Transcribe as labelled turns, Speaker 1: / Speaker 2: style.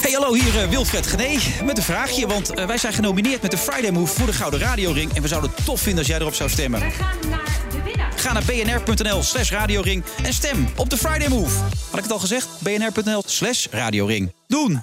Speaker 1: Hey, hallo, hier eh, Wilfred Gené met een vraagje. Want eh, wij zijn genomineerd met de Friday Move voor de Gouden Radioring. En we zouden het tof vinden als jij erop zou stemmen.
Speaker 2: Wij gaan naar de winnaar.
Speaker 1: Ga naar bnr.nl slash radioring en stem op de Friday Move. Had ik het al gezegd? bnr.nl slash radioring. Doen!